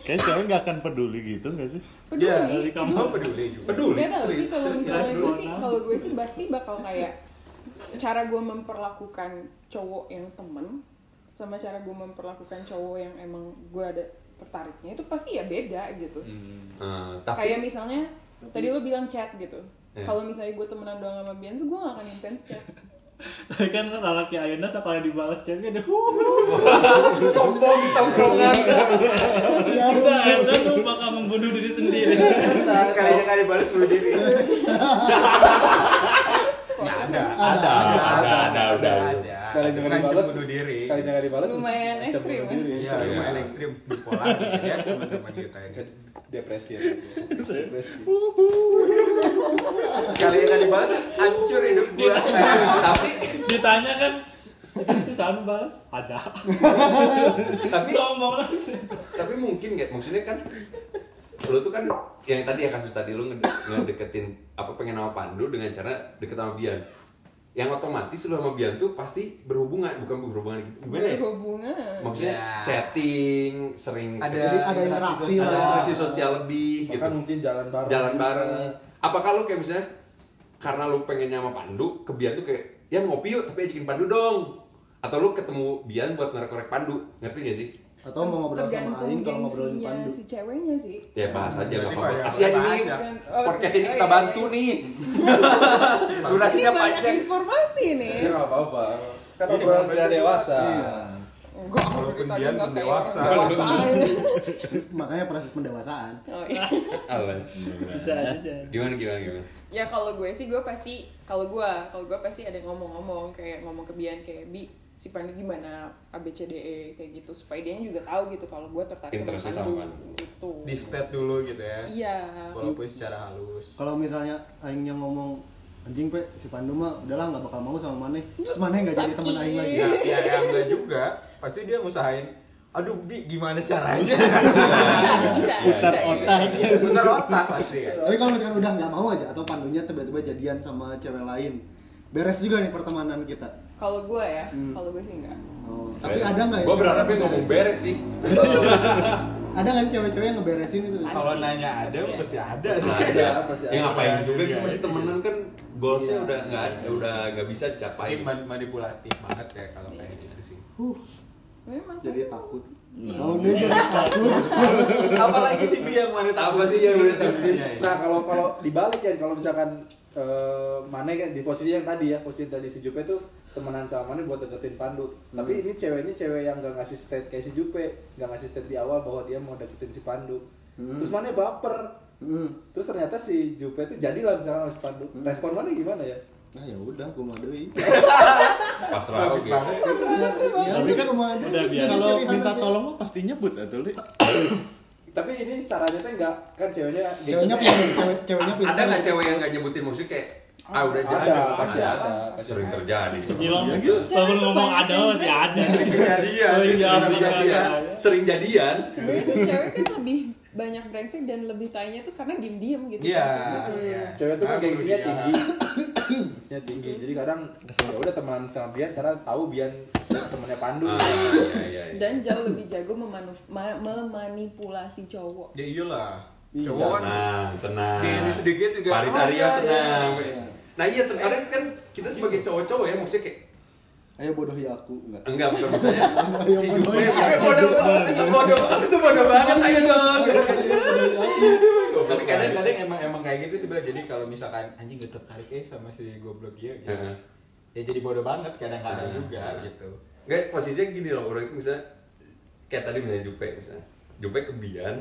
Speaker 6: Kayak cewek nggak akan peduli gitu nggak sih?
Speaker 3: Iya,
Speaker 4: peduli
Speaker 7: dari kamu.
Speaker 3: Gua peduli juga
Speaker 1: Peduli.
Speaker 4: Gak tau sih kalau
Speaker 3: serius,
Speaker 4: misalnya
Speaker 7: serius.
Speaker 4: gue sih kalau gue sih pasti bakal kayak cara gue memperlakukan cowok yang temen sama cara gue memperlakukan cowok yang emang gue ada tertariknya itu pasti ya beda gitu.
Speaker 1: Eh, tapi
Speaker 4: Kayak misalnya tadi lo bilang chat gitu.
Speaker 1: Iya.
Speaker 4: Kalau misalnya gue temenan doang sama Bian tuh gue gak akan intens chat.
Speaker 7: Tapi kan lelaki Ayunda sekali dibalas chatnya deh.
Speaker 1: sombong kan? tongkrongan.
Speaker 7: Kita Ayunda tuh bakal membunuh diri sendiri.
Speaker 3: sekalinya kali balas bunuh diri
Speaker 4: Kok
Speaker 3: Nggak
Speaker 4: sama-
Speaker 3: ada
Speaker 1: Ada, ada, ada,
Speaker 3: ada
Speaker 1: udah.
Speaker 3: ada
Speaker 2: sekali
Speaker 3: Ancam
Speaker 2: dengan dibalas
Speaker 3: bunuh diri.
Speaker 2: sekali dengan dibalas
Speaker 4: Lumayan
Speaker 2: ancam
Speaker 4: ekstrim, eh.
Speaker 2: bunuh diri.
Speaker 3: Iya,
Speaker 1: Iya.
Speaker 3: lumayan ekstrim bipolar gitu ya teman-teman kita gitu. ini.
Speaker 2: depresi ya
Speaker 3: Gitu.
Speaker 2: depresi
Speaker 3: Sekali yang dibahas, hancur hidup gua.
Speaker 1: tapi
Speaker 7: Ditanya kan itu sama balas ada.
Speaker 1: tapi
Speaker 7: Sombong lagi sih.
Speaker 1: tapi mungkin nggak maksudnya kan lu tuh kan yang tadi ya kasus tadi lu ngede- ngedeketin apa pengen sama Pandu dengan cara deket sama Bian yang otomatis lu sama Bian tuh pasti berhubungan bukan berhubungan gimana ya
Speaker 4: berhubungan
Speaker 1: maksudnya
Speaker 3: Ya.
Speaker 1: chatting sering
Speaker 3: Ada
Speaker 5: Jadi ada interaksi
Speaker 1: ada
Speaker 5: lah.
Speaker 1: interaksi sosial lebih
Speaker 2: bahkan
Speaker 1: gitu
Speaker 2: mungkin jalan bareng
Speaker 1: jalan
Speaker 2: juga.
Speaker 1: bareng apakah lu kayak misalnya karena lu pengennya sama Pandu ke Bian tuh kayak ya ngopi yuk tapi ajakin Pandu dong atau lu ketemu Bian buat ngorek-ngorek Pandu ngerti gak sih
Speaker 5: Atau mau ngobrol sama
Speaker 4: tergantung
Speaker 5: Aing kalau ngobrolin
Speaker 4: gengsinya
Speaker 5: Pandu.
Speaker 4: si ceweknya sih
Speaker 1: Ya bahas aja nggak
Speaker 3: Berarti
Speaker 1: apa-apa.
Speaker 3: banyak
Speaker 1: Kasihan ini
Speaker 3: banyak.
Speaker 4: Oh,
Speaker 1: podcast ini
Speaker 4: oh,
Speaker 1: kita
Speaker 4: iya,
Speaker 1: bantu
Speaker 4: iya.
Speaker 1: nih. Iya,
Speaker 4: ini
Speaker 1: Durasinya
Speaker 4: banyak
Speaker 1: panjang.
Speaker 4: informasi nih
Speaker 2: ya nggak apa-apa kan
Speaker 3: Ini
Speaker 2: obrolan
Speaker 3: bukan
Speaker 2: tidak
Speaker 3: berarti
Speaker 2: dewasa
Speaker 5: Iya.
Speaker 4: enggak
Speaker 3: Walaupun
Speaker 4: kita
Speaker 3: dia
Speaker 4: juga kayak
Speaker 3: dewasa.
Speaker 4: dewasa
Speaker 5: Makanya proses pendewasaan.
Speaker 4: Oh, iya.
Speaker 7: Bisa aja. bisa aja.
Speaker 1: Gimana gimana gimana?
Speaker 4: ya kalau gue sih gue pasti kalau gue kalau gue pasti ada ngomong-ngomong kayak ngomong ke Bian kayak bi si Pandu gimana ABCDE kayak gitu supaya dia juga tahu gitu kalau gue tertarik
Speaker 1: Interestnya sama Pandu.
Speaker 4: gitu
Speaker 3: Di state dulu gitu ya.
Speaker 4: iya
Speaker 3: Walaupun secara halus.
Speaker 5: Kalau misalnya Aingnya ngomong anjing pe si Pandu mah udahlah nggak bakal mau sama Maneh. Terus Maneh nggak jadi teman Aing lagi.
Speaker 3: Ya, ya, ya enggak juga. Pasti dia ngusahain. Aduh, Bi, gimana caranya?
Speaker 4: bisa
Speaker 6: Putar
Speaker 4: bisa,
Speaker 6: otak.
Speaker 4: bisa.
Speaker 1: Iya,
Speaker 3: Putar otak pasti kan.
Speaker 5: Tapi kalau misalkan udah nggak mau aja atau Pandunya tiba-tiba jadian sama cewek lain, beres juga nih pertemanan kita.
Speaker 4: kalau gue ya
Speaker 6: Hmm.
Speaker 4: kalau gue sih enggak
Speaker 5: Oh, tapi ada nggak ya?
Speaker 1: Gue
Speaker 5: cewek
Speaker 1: berharapnya
Speaker 5: yang
Speaker 1: ngomong
Speaker 5: beresin?
Speaker 1: beres sih.
Speaker 5: Ada nggak sih cewek-cewek yang ngeberesin itu?
Speaker 3: Kalau nanya ada, pasti ada.
Speaker 1: Ada.
Speaker 2: pasti
Speaker 1: Ya
Speaker 2: ada.
Speaker 1: ngapain juga
Speaker 3: Iya,
Speaker 1: gitu masih
Speaker 3: iya.
Speaker 1: temenan kan goalsnya
Speaker 5: Iya.
Speaker 1: udah nggak ada, udah nggak bisa dicapai.
Speaker 3: Tapi man- manipulatif banget ya kalau kayak gitu sih.
Speaker 5: Huh,
Speaker 4: memang
Speaker 5: Uh, jadi takut. Kalau dia jadi takut,
Speaker 3: Apalagi si Bi yang mana Iya,
Speaker 1: Apa sih yang mana takutin?
Speaker 2: nah kalau kalau dibalik ya kalau misalkan eh Mane kan di posisi yang tadi ya posisi tadi si Jupe tuh temenan sama Mane buat deketin Pandu tapi
Speaker 3: Hmm.
Speaker 2: ini ceweknya cewek yang gak ngasih state kayak si Jupe gak ngasih state di awal bahwa dia mau deketin si Pandu
Speaker 3: Hmm.
Speaker 2: terus Mane baper
Speaker 5: hmm.
Speaker 2: terus ternyata si Jupe tuh jadilah misalkan sama si Pandu
Speaker 3: Hmm.
Speaker 2: respon Mane gimana ya
Speaker 5: nah ya udah, gue mau doi.
Speaker 1: Pasrah oke.
Speaker 5: Ya,
Speaker 6: Tapi
Speaker 5: terus
Speaker 6: kan
Speaker 5: gua mau doi,
Speaker 7: udah
Speaker 5: terus
Speaker 7: biasa.
Speaker 6: Kalau
Speaker 5: pilihan
Speaker 6: minta
Speaker 5: aja.
Speaker 6: tolong mah pasti nyebut atau li.
Speaker 2: tapi ini caranya tuh enggak kan ceweknya
Speaker 5: ceweknya pinter, cewek, ceweknya pinter.
Speaker 1: Ada nggak cewek yang nggak nyebutin maksudnya kayak ah udah
Speaker 2: gitu ada,
Speaker 1: jadi
Speaker 2: pasti ada.
Speaker 1: Sering terjadi.
Speaker 7: Gila, bangun ngomong ada masih ada.
Speaker 1: Kejadian,
Speaker 7: Oh gitu. iya,
Speaker 1: sering
Speaker 7: iya.
Speaker 1: kejadian, sering jadian.
Speaker 4: sebenarnya tuh cewek kan lebih banyak brengsek dan lebih tanya tuh karena diem diem gitu
Speaker 3: Iya.
Speaker 4: Maksudnya.
Speaker 3: iya.
Speaker 2: cewek tuh kan
Speaker 3: Aku
Speaker 2: gengsinya
Speaker 3: dulu
Speaker 2: tinggi gengsinya tinggi jadi kadang ya udah temenan sama Bian karena tahu Bian temennya Pandu
Speaker 1: Ah, iya, iya, iya.
Speaker 4: dan jauh lebih jago memanu- ma- memanipulasi cowok
Speaker 3: Ya iyalah.
Speaker 5: Iya.
Speaker 3: Cowok kan
Speaker 1: Tenang, tenang.
Speaker 3: Di- di sedikit juga,
Speaker 1: Paris
Speaker 3: oh,
Speaker 1: Arya
Speaker 3: iya,
Speaker 1: tenang.
Speaker 5: iya.
Speaker 1: Nah iya terkadang kan kita sebagai cowok-cowok ya maksudnya kayak
Speaker 5: Ayo bodohi aku, enggak.
Speaker 1: enggak bukan maksudnya
Speaker 5: Ayo
Speaker 1: si Jupe
Speaker 5: bodohi aku.
Speaker 1: Ayo, bodoh banget, itu bodoh banget, itu bodoh banget ayo dong.
Speaker 5: Bodohi aku.
Speaker 3: tapi kadang-kadang emang emang kayak gitu sih Bel. jadi kalau misalkan anjing gak tertarik eh sama si goblok dia gitu
Speaker 1: Heeh.
Speaker 3: ya jadi bodoh banget kadang-kadang
Speaker 1: Heeh.
Speaker 3: juga
Speaker 1: Heeh.
Speaker 3: gitu
Speaker 1: Enggak posisinya gini loh orang itu misalnya kayak tadi misalnya Jupe misalnya Jupe kebian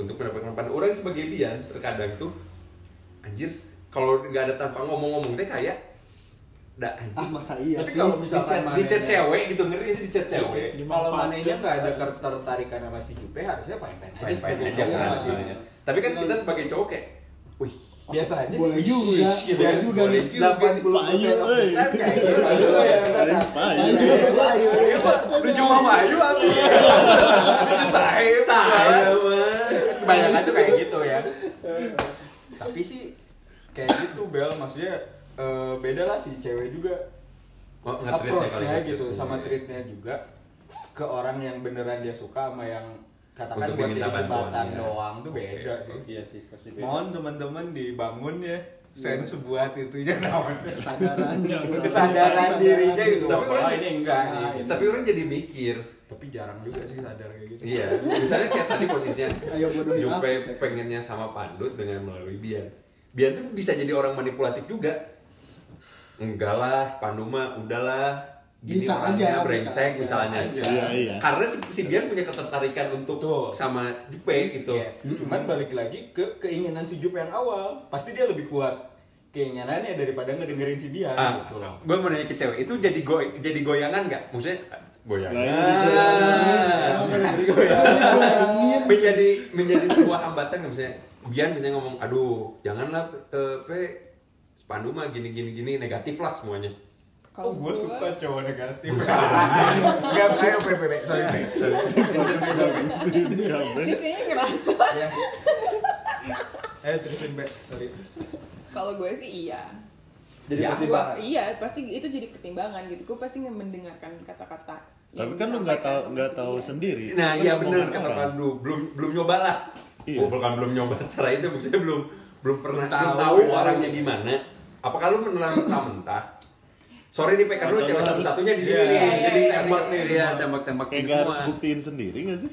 Speaker 1: untuk mendapatkan pandangan orang sebagai bian terkadang tuh anjir kalau nggak ada tanpa ngomong-ngomong teh kayak dah
Speaker 5: Ah
Speaker 1: anjir
Speaker 5: masa iya
Speaker 3: Tapi
Speaker 5: sih.
Speaker 3: kalau
Speaker 1: di
Speaker 3: misalkan
Speaker 1: chat
Speaker 3: mana
Speaker 1: di chat
Speaker 3: ya.
Speaker 1: cewek gitu ngeri nggak sih di chat cewek
Speaker 3: Iya kalau mananya nggak ada ketertarikan sama si Jupe harusnya fine fine
Speaker 1: fine fine aja
Speaker 5: Iya,
Speaker 1: kan
Speaker 5: iya.
Speaker 1: maksudnya. Tapi kan kita sebagai cowok kayak, wih,
Speaker 3: biasa aja sih.
Speaker 5: Boleh juga,
Speaker 3: Shh, gitu
Speaker 5: boleh
Speaker 3: kan.
Speaker 5: juga
Speaker 1: boleh
Speaker 5: nih.
Speaker 1: juga.
Speaker 6: Payu, eh.
Speaker 3: Kan kayak gitu. Ayo, ya, kan.
Speaker 6: Payu.
Speaker 3: Ayo, Pak. Lu cuma mayu aku. Lu sae, sae. Kebanyakan tuh kayak gitu ya. Tapi sih kayak gitu Bel, maksudnya eh, beda lah si cewek juga
Speaker 1: Oh, nge-treatnya kali
Speaker 3: approach-nya
Speaker 1: nge-treat.
Speaker 3: gitu sama
Speaker 1: Iya.
Speaker 3: treatnya juga ke orang yang beneran dia suka sama yang katakan
Speaker 1: Untuk
Speaker 3: buat
Speaker 1: diminta
Speaker 3: jadi
Speaker 1: bantuan,
Speaker 3: jembatan
Speaker 1: iya.
Speaker 3: doang tuh
Speaker 1: Oke.
Speaker 3: beda sih.
Speaker 2: iya sih pasti
Speaker 3: ya.
Speaker 2: Iya.
Speaker 3: Mohon teman-teman dibangun ya sense buat itunya namanya.
Speaker 5: Kesadaran.
Speaker 3: kesadaran dirinya gitu.
Speaker 1: Tapi
Speaker 3: Tapi Iya.
Speaker 1: orang-
Speaker 3: ini enggak
Speaker 5: Nah,
Speaker 3: sih.
Speaker 1: tapi orang jadi mikir,
Speaker 3: Tapi jarang juga sih sadar kayak gitu.
Speaker 1: iya. Misalnya kayak tadi posisinya,
Speaker 5: Ayo bodohin
Speaker 1: Jupe
Speaker 5: aku.
Speaker 1: pengennya sama Pandut dengan melalui Bian. Bian tuh bisa jadi orang manipulatif juga. Enggak lah, Pandu mah udahlah. Gini
Speaker 5: Bisa
Speaker 1: orangnya
Speaker 5: aja, bisa
Speaker 1: brengsek
Speaker 5: aja.
Speaker 1: misalnya.
Speaker 6: Iya, iya.
Speaker 1: Karena si, si Bian punya ketertarikan untuk
Speaker 3: Betul.
Speaker 1: sama Jupe gitu.
Speaker 3: Yes. Cuman balik lagi ke keinginan si Jupe yang awal, pasti dia lebih kuat kayaknya nanya daripada ngedengerin si Bian
Speaker 1: Ah,
Speaker 3: gitu loh.
Speaker 1: gue mau nanya ke cewek, itu jadi goy, jadi goyangan nggak? Maksudnya goyangan.
Speaker 6: Nah, ini goyangan.
Speaker 1: Ah, menjadi menjadi sebuah hambatan nggak misalnya Bian misalnya ngomong, aduh janganlah eh, pe spandu mah gini gini gini negatif lah semuanya.
Speaker 3: Oh, gue
Speaker 4: gua-
Speaker 3: suka cowok negatif. Enggak, ayo PPP. Sorry, Pe.
Speaker 6: bagus bagus ini kabe
Speaker 4: Dia kayaknya ngerasa
Speaker 3: Ya.
Speaker 2: Eh,
Speaker 3: Ayo terusin, Pe. Sorry.
Speaker 4: kalau gue sih iya
Speaker 2: Jadi
Speaker 1: Ya,
Speaker 4: Gua,
Speaker 2: pertimbangan.
Speaker 4: iya pasti itu jadi pertimbangan gitu gue pasti nge- mendengarkan kata-kata yang
Speaker 6: tapi kan lu nggak
Speaker 4: disampaikan
Speaker 6: tahu
Speaker 4: sama
Speaker 6: nggak
Speaker 4: si
Speaker 6: tahu
Speaker 4: dia.
Speaker 6: sendiri
Speaker 1: Nah
Speaker 6: Kan
Speaker 1: iya
Speaker 6: lu
Speaker 1: benar
Speaker 6: ngomong
Speaker 1: kata
Speaker 6: orang.
Speaker 1: Pandu, belum belum nyoba lah.
Speaker 6: Iya.
Speaker 1: Oh, bukan belum nyoba cara itu maksudnya belum belum pernah belum
Speaker 3: tahu,
Speaker 1: tahu,
Speaker 3: belum tahu.
Speaker 1: orangnya gimana. Apakah lu menelan mentah-mentah? Sorry nih PK lu
Speaker 6: Atau
Speaker 1: cewek
Speaker 6: lu
Speaker 1: satu-satunya di sini
Speaker 3: harus-
Speaker 1: nih.
Speaker 4: Iya, iya,
Speaker 1: Jadi
Speaker 4: iya,
Speaker 1: tembak nih. Iya, tembak-tembak
Speaker 6: kayak nggak harus buktiin sendiri nggak sih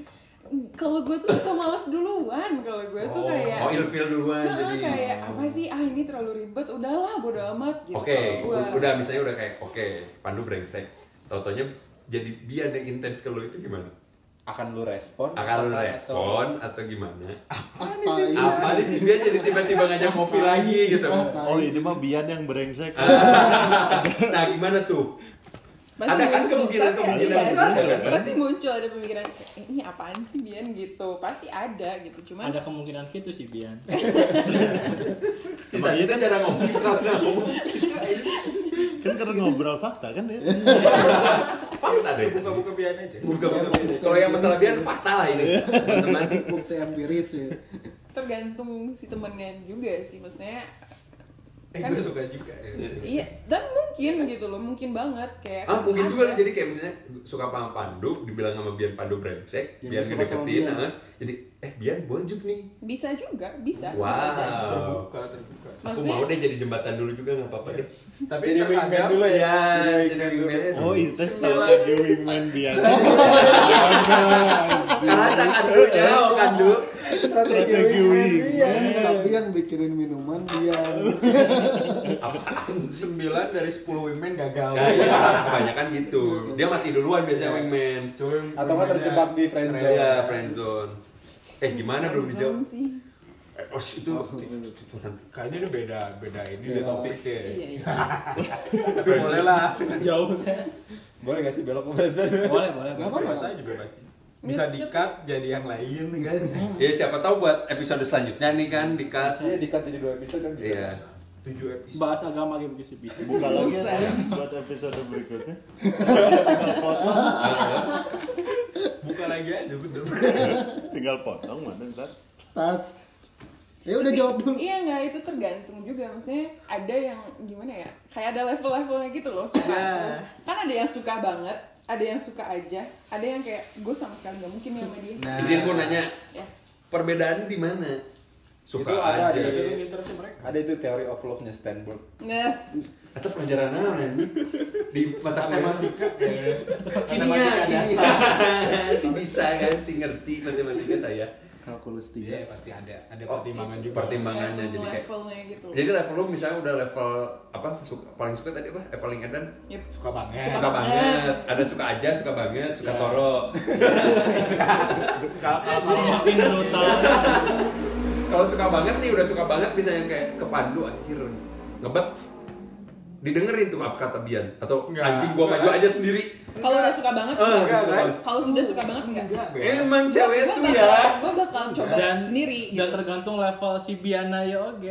Speaker 4: kalau gue tuh suka malas duluan kalau gue tuh kayak
Speaker 1: Oh, ilfil duluan
Speaker 4: Nah,
Speaker 1: jadi.
Speaker 4: Iya.
Speaker 1: oh.
Speaker 4: kayak apa sih ah ini terlalu ribet udahlah bodo amat gitu
Speaker 1: Oke,
Speaker 4: Gua-
Speaker 1: u- udah misalnya udah kayak oke, Pandu brengsek. Tau-taunya jadi dia yang intens ke lu itu gimana?
Speaker 2: akan lu respon
Speaker 1: Akan lu
Speaker 2: atau-
Speaker 1: respon atau gimana?
Speaker 5: Apa ini?
Speaker 1: Apa nih sih dia jadi tiba-tiba ngajak kopi lagi gitu?
Speaker 6: oh ini mah Bian yang brengsek
Speaker 1: Nah gimana tuh?
Speaker 4: Pasti
Speaker 1: Ada kan
Speaker 4: muncul,
Speaker 1: kemungkinan-
Speaker 4: tapi
Speaker 1: kemungkinan
Speaker 4: ada,
Speaker 6: muncul,
Speaker 4: kan?
Speaker 6: kan?
Speaker 4: pasti muncul ada pemikiran "Eh, ini apaan sih Bian gitu pasti ada gitu cuman
Speaker 7: Ada kemungkinan gitu sih Bian.
Speaker 1: Bisa kita jarang kan ngomong sekarang ngomong.
Speaker 6: kan karena ngobrol fakta kan ya
Speaker 1: Fakta deh.
Speaker 3: Buka-buka Bian aja.
Speaker 1: Buka buka. Kalau yang masalah dia fakta lah ini. Teman.
Speaker 5: Bukti empiris ya.
Speaker 4: tergantung si temennya juga sih maksudnya
Speaker 3: Eh,
Speaker 4: Kan-
Speaker 3: gue suka juga. ya.
Speaker 4: iya dan mungkin gitu loh mungkin banget kayak
Speaker 1: gitu. Ah mungkin
Speaker 4: ada.
Speaker 1: juga lah, jadi kayak misalnya suka paham Pandu, dibilang sama Bian Pandu brengsek,
Speaker 5: Jadi
Speaker 1: Bian
Speaker 5: suka sama
Speaker 1: ngedeketin,
Speaker 5: Bian.
Speaker 1: ah, jadi eh Bian bonjuk nih.
Speaker 4: bisa juga bisa Iya, bisa jadi.
Speaker 1: Wow.
Speaker 3: Terbuka, terbuka.
Speaker 1: Aku
Speaker 4: Maksudnya-
Speaker 1: mau deh jadi jembatan dulu juga nggak apa-apa deh.
Speaker 3: Tapi
Speaker 2: Jadi
Speaker 3: terkadang-
Speaker 2: wingman dulu ya.
Speaker 1: Ya,
Speaker 2: Jadi
Speaker 1: jadi
Speaker 2: wingman.
Speaker 1: wingman.
Speaker 6: oh itu strategi wingman Bian
Speaker 1: Kerasa kan dulu ya, kan dulu.
Speaker 6: strategi
Speaker 5: iya.
Speaker 3: Iya,
Speaker 6: iya. wingman
Speaker 5: Tapi yang bikinin minuman dia.
Speaker 3: Sembilan dari sepuluh women gagal. Iya.
Speaker 1: Ya, ya, kebanyakan gitu. Dia mati duluan biasanya wingman.
Speaker 3: Cuma
Speaker 2: atau nggak terjebak di
Speaker 3: iya,
Speaker 2: friendzone
Speaker 1: Ya, friendzone. Eh gimana belum dijawab?
Speaker 4: Friendzone sih
Speaker 1: Eh, oh itu
Speaker 3: Kayaknya ini beda, beda
Speaker 5: Beda.
Speaker 3: ini deh topiknya.
Speaker 4: iya iya
Speaker 3: Tapi boleh lah.
Speaker 7: Jauh kan?
Speaker 2: boleh nggak sih belok ke friendzone
Speaker 7: Boleh, boleh.
Speaker 5: Nggak
Speaker 7: boleh.
Speaker 5: apa-apa.
Speaker 3: Bebas aja bebas. Bisa
Speaker 4: Tapi-
Speaker 3: di-cut jadi yang lain kan.
Speaker 1: Ya siapa tahu buat episode selanjutnya nih kan di cut.
Speaker 2: iya dikat jadi dua episode kan bisa
Speaker 1: Iya.
Speaker 3: Tujuh episode.
Speaker 7: Bahas agama gitu sih bisa.
Speaker 6: buka lagi
Speaker 4: Bisa.
Speaker 6: ya, buat episode berikutnya tinggal potong
Speaker 3: Buka lagi aja bener.
Speaker 6: tinggal potong mana ntar
Speaker 5: Tas. Ya udah jawab dulu.
Speaker 4: Iya nggak itu tergantung juga maksudnya ada yang gimana ya kayak ada level-levelnya gitu loh suka tuh. kan ada yang suka banget ada yang suka aja ada yang kayak gue sama sekali nggak mungkin nih sama dia
Speaker 3: Nah.
Speaker 1: Izin gue nanya,
Speaker 4: ya
Speaker 1: perbedaan di mana? Suka
Speaker 2: Itu ada
Speaker 1: aja.
Speaker 2: di-
Speaker 3: Jadi terus mereka.
Speaker 2: ada itu teori of love nya Stanford
Speaker 4: Nes.
Speaker 1: Atau pelajaran apa ini? Di mata kuliah.
Speaker 3: Matematika kayaknya.
Speaker 1: Kimia, kimia. si bisa kan, si ngerti matematika saya.
Speaker 5: Kalkulus
Speaker 3: Iya,
Speaker 5: 3.
Speaker 3: pasti ada ada
Speaker 1: Oh,
Speaker 3: pertimbangan juga.
Speaker 1: Pertimbangannya jadi kayak.
Speaker 4: levelnya gitu loh.
Speaker 1: Jadi level lu misalnya udah level apa suka, paling suka tadi apa? Eh, paling edan
Speaker 4: Yep.
Speaker 3: Eh, suka banget. Ya.
Speaker 1: suka banget. Ada suka aja, suka banget, suka toro. Kalau- kalau-
Speaker 7: Makin brutal.
Speaker 1: Kalau suka banget nih udah suka banget misalnya kayak kepandu anjir ngebet didengerin tuh apa kata Bian atau
Speaker 3: Nggak.
Speaker 1: anjing gua maju aja sendiri.
Speaker 4: kalau udah suka banget
Speaker 1: Eh,
Speaker 4: enggak?
Speaker 1: enggak, kan?
Speaker 4: kalau sudah suka banget enggak
Speaker 1: Emang cewek
Speaker 4: Gua
Speaker 1: tuh
Speaker 4: bakal-
Speaker 1: ya
Speaker 4: gua bakal coba
Speaker 7: dan
Speaker 4: sendiri gitu. Mm-hmm.
Speaker 7: dan tergantung level si Biana ya oke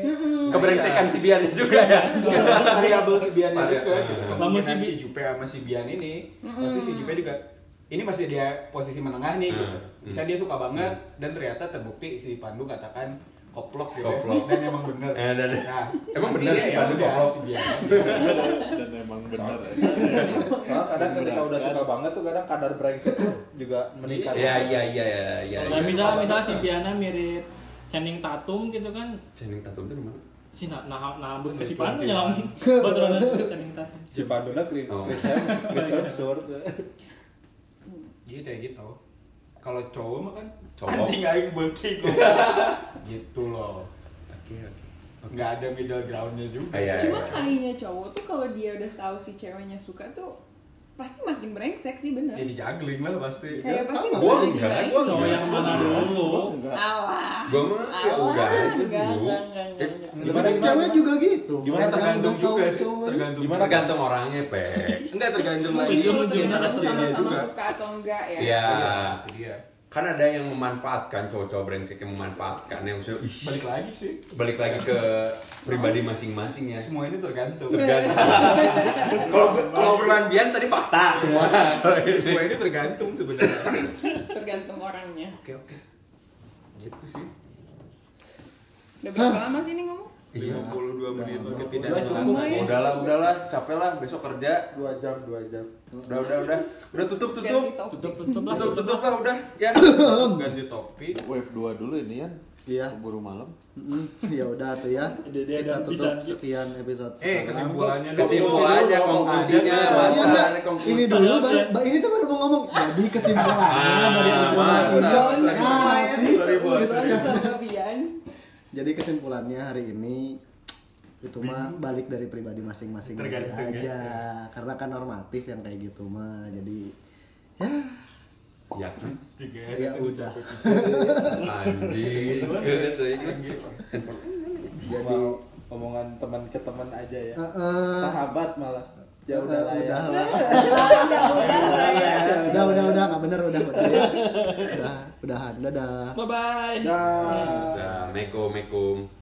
Speaker 1: keberengsekan si Bian juga ya.
Speaker 3: Iya. variabel si Bian itu
Speaker 1: Pada-
Speaker 3: juga
Speaker 1: eh.
Speaker 3: gitu.
Speaker 7: Lama si
Speaker 3: Kemungkinan
Speaker 7: Bi-
Speaker 3: si Jupe sama si Bian ini, pasti si Jupe juga ini masih dia posisi menengah nih
Speaker 1: Hmm.
Speaker 3: gitu. Bisa dia suka banget
Speaker 1: Mm.
Speaker 3: dan ternyata terbukti si Pandu katakan koplok gitu. ya.
Speaker 1: Koplok.
Speaker 3: Dan emang bener.
Speaker 1: Eh, dan-
Speaker 3: Nah,
Speaker 1: Emang
Speaker 3: pasti
Speaker 1: bener
Speaker 3: dia
Speaker 1: si
Speaker 3: ya
Speaker 1: Pandu
Speaker 3: udah,
Speaker 1: koplok.
Speaker 3: Si Bian.
Speaker 6: dan emang ya. bener
Speaker 2: soalnya kadang ketika udah suka banget tuh kadang kadar brengsek tuh juga meningkat
Speaker 3: Iya,
Speaker 1: Ya ya ya ya ya.
Speaker 7: nah
Speaker 1: ya.
Speaker 7: misalnya misalnya si Biana mirip Channing Tatum gitu kan
Speaker 1: Channing Tatum tuh mana?
Speaker 7: si nah nah nah buat si Pandu nyelam kebetulan Channing Tatum
Speaker 2: si Panduna Chris
Speaker 1: Oh.
Speaker 2: Chris Hem- Chris Hemsworth
Speaker 3: Jadi kayak gitu. Kalau cowok mah kan
Speaker 1: Cowok.
Speaker 3: anjing aing beki gua. gitu loh.
Speaker 1: Oke oke.
Speaker 3: Nggak ada middle groundnya juga.
Speaker 1: Ah, iya, iya.
Speaker 4: cuma kayaknya cowok tuh kalau dia udah tahu si ceweknya suka tuh pasti makin brengsek sih bener
Speaker 2: Iya,
Speaker 3: Ya dijagling lah pasti.
Speaker 4: kayak pasti
Speaker 5: iya. sama.
Speaker 4: gua
Speaker 1: Gua enggak,
Speaker 4: digilai.
Speaker 1: gua
Speaker 7: cowok yang mana dulu
Speaker 5: enggak
Speaker 4: alah
Speaker 1: Gua mah ya
Speaker 4: Alah,
Speaker 1: udah aja Eh,
Speaker 4: enggak,
Speaker 1: dulu.
Speaker 4: enggak, enggak, enggak, enggak.
Speaker 5: Gimana cewek juga gitu.
Speaker 3: Gimana
Speaker 5: Kalau sekarang
Speaker 3: tergantung
Speaker 5: udah tahu
Speaker 3: juga sih.
Speaker 5: cowok nih.
Speaker 3: Tergantung.
Speaker 1: Gimana gantung orangnya, Pe?
Speaker 3: Enggak tergantung lagi.
Speaker 4: mungkin kamu gimana
Speaker 7: Ujung-ujungnya
Speaker 4: sama-sama
Speaker 3: juga.
Speaker 4: suka atau enggak ya
Speaker 1: Iya.
Speaker 3: Itu dia.
Speaker 1: Kan ada yang memanfaatkan cowok-cowok brengsek yang memanfaatkan yang maksudnya, ih,
Speaker 3: Balik lagi sih.
Speaker 1: balik lagi ke pribadi masing-masing ya.
Speaker 3: Semua ini tergantung.
Speaker 1: Tergantung. Kalau kalau obrolan Bian tadi fakta semua. Kalau ini-
Speaker 3: Semua ini tergantung sebenarnya.
Speaker 4: tergantung orangnya
Speaker 1: Oke, oke.
Speaker 3: gitu sih.
Speaker 4: udah berapa lama sih ini ngomong
Speaker 2: Iya.
Speaker 3: 52 menit
Speaker 2: Nah,
Speaker 3: mungkin tidak
Speaker 5: Udah,
Speaker 3: jelas.
Speaker 4: cukup.
Speaker 3: Ya.
Speaker 1: Udahlah, udahlah, capek lah besok kerja.
Speaker 5: Dua jam, dua jam.
Speaker 1: Udah, udah, udah. Udah tutup, tutup.
Speaker 4: Ganti topik.
Speaker 7: tutup tutup lah
Speaker 1: Tutup, tutup lah udah. Ya.
Speaker 3: Ganti topik.
Speaker 6: Wave 2 dulu ini Yan.
Speaker 5: Iya.
Speaker 6: Keburu malam.
Speaker 5: Mm, ya udah tuh ya.
Speaker 7: Dia- dia
Speaker 5: Kita
Speaker 7: ganti,
Speaker 5: tutup
Speaker 7: ganti.
Speaker 5: sekian episode
Speaker 3: Eh,
Speaker 5: sekarang.
Speaker 3: kesimpulannya.
Speaker 1: Kesimpulannya,
Speaker 3: dong.
Speaker 1: konklusinya,
Speaker 3: Ada
Speaker 5: Iya,
Speaker 3: nggak?
Speaker 1: masa.
Speaker 5: enggak.
Speaker 1: konklusi.
Speaker 5: ini dulu baru ba- ini tuh baru mau ngomong jadi kesimpulannya
Speaker 1: Ah,
Speaker 5: dari obrolan
Speaker 1: masa,
Speaker 5: ini.
Speaker 1: masa,
Speaker 5: Nah,
Speaker 4: masa.
Speaker 5: sih.
Speaker 3: Sorry, bos.
Speaker 5: Kesimpulannya.
Speaker 4: Bian.
Speaker 5: Jadi kesimpulannya hari ini itu mah balik dari pribadi masing-masing aja karena kan normatif yang kayak gitu mah jadi ya
Speaker 1: Yakin.
Speaker 3: Tiga.
Speaker 5: ya udah
Speaker 1: Anjing. gitu.
Speaker 2: Jadi omongan teman ke teman aja ya.
Speaker 5: Eh, eh.
Speaker 2: Sahabat malah. Ya
Speaker 5: Eh,
Speaker 2: udah lah ya.
Speaker 5: udah lah. udah udah udah nggak bener udah udah ya. udah udahan dadah
Speaker 7: bye bye
Speaker 2: Dah.
Speaker 1: Assalamualaikum, Assalamualaikum.